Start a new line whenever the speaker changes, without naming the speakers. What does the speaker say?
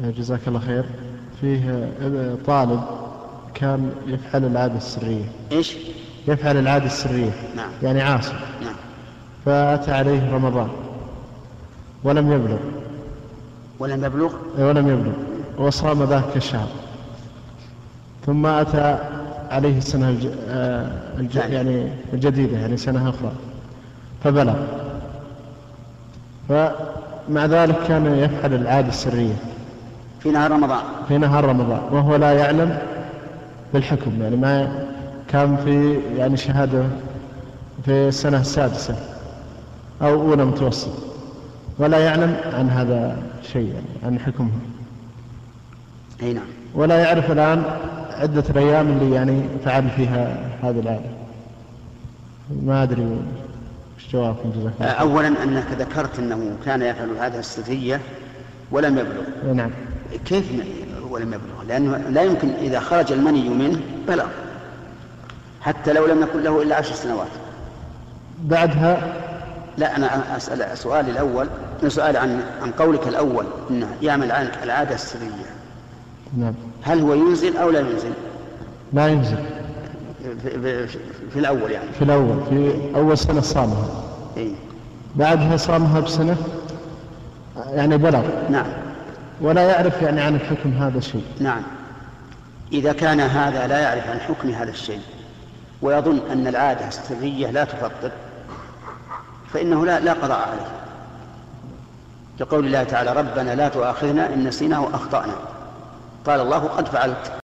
جزاك الله خير فيه طالب كان يفعل العادة السرية
ايش؟
يفعل العادة السرية
نعم.
يعني عاصي
نعم
فأتى عليه رمضان ولم يبلغ
ولم يبلغ
ولم يبلغ وصام ذاك الشهر ثم أتى عليه السنة الج... آه، الج...
نعم.
يعني الجديدة يعني سنة أخرى فبلغ فمع ذلك كان يفعل العادة السرية
في نهار رمضان
في نهار رمضان وهو لا يعلم بالحكم يعني ما كان في يعني شهادة في السنة السادسة أو أولى متوسط ولا يعلم عن هذا الشيء يعني عن حكمه
اي نعم
ولا يعرف الآن عدة الأيام اللي يعني فعل فيها هذه العادة ما أدري وش جوابكم جزاكم
آه،
الله
اولا انك ذكرت انه كان يفعل هذا السريه ولم يبلغ
خير. نعم
كيف م- ولم يبلغ لانه لا يمكن اذا خرج المني منه بلغ حتى لو لم يكن له الا عشر سنوات
بعدها
لا انا اسال سؤالي الاول سؤال عن عن قولك الاول انه يعمل عن العاده السريه
نعم
هل هو ينزل او لا ينزل
لا ينزل
في, في, في الاول يعني
في الأول في أول سنة صامها
إيه.
بعدها صامها بسنة يعني بلغ
نعم
ولا يعرف يعني عن الحكم هذا شيء
نعم اذا كان هذا لا يعرف عن حكم هذا الشيء ويظن ان العاده السريه لا تفطر فانه لا لا قضاء عليه لقول الله تعالى ربنا لا تؤاخذنا ان نسينا واخطانا قال الله قد فعلت